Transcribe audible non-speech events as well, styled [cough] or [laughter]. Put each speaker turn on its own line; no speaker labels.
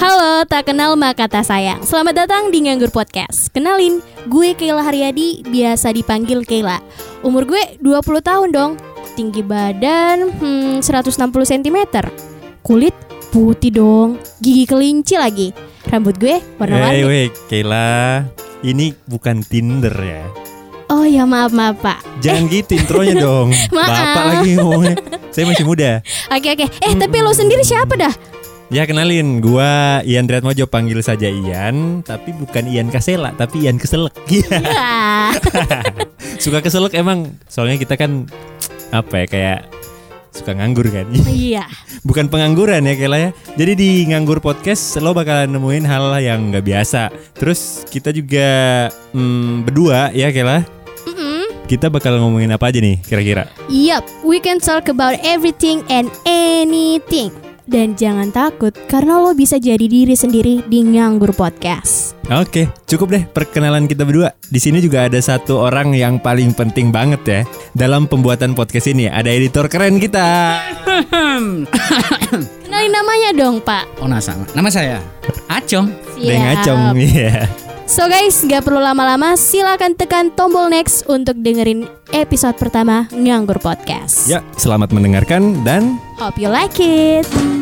Halo, tak kenal maka tak sayang. Selamat datang di Nganggur Podcast. Kenalin, gue Keila Haryadi, biasa dipanggil Keila. Umur gue 20 tahun dong. Tinggi badan hmm, 160 cm. Kulit putih dong, gigi kelinci lagi. Rambut gue
Hei,
warna-warni.
Eh, weh, Kayla, ini bukan Tinder ya.
Oh ya, maaf maaf, Pak.
Jangan gitu intronya dong.
Maaf.
Bapak lagi ngomongnya. Saya masih muda.
Oke oke. Eh, tapi lo sendiri siapa dah? [laughs]
Ya kenalin, gua Ian Driatmojo panggil saja Ian, tapi bukan Ian Kasela, tapi Ian Keselek. [laughs] Iya.
Ya.
suka keselek emang. Soalnya kita kan apa ya kayak suka nganggur kan. [laughs]
Iya.
bukan pengangguran ya Kela ya. Jadi di Nganggur Podcast lo bakalan nemuin hal yang nggak biasa. Terus kita juga hmm, berdua ya Kela.
Mm-mm.
Kita bakal ngomongin apa aja nih kira-kira?
Yup, we can talk about everything and anything. Dan jangan takut karena lo bisa jadi diri sendiri di Nganggur Podcast.
Oke, cukup deh perkenalan kita berdua. Di sini juga ada satu orang yang paling penting banget ya dalam pembuatan podcast ini. Ada editor keren kita.
Kenalin namanya dong, Pak.
Oh nah sama. Nama saya Acong.
Deng
Siap.
Acong iya.
So guys, nggak perlu lama-lama, silakan tekan tombol next untuk dengerin episode pertama Nganggur Podcast.
Ya, selamat Ya, mendengarkan dan
Hope you like it.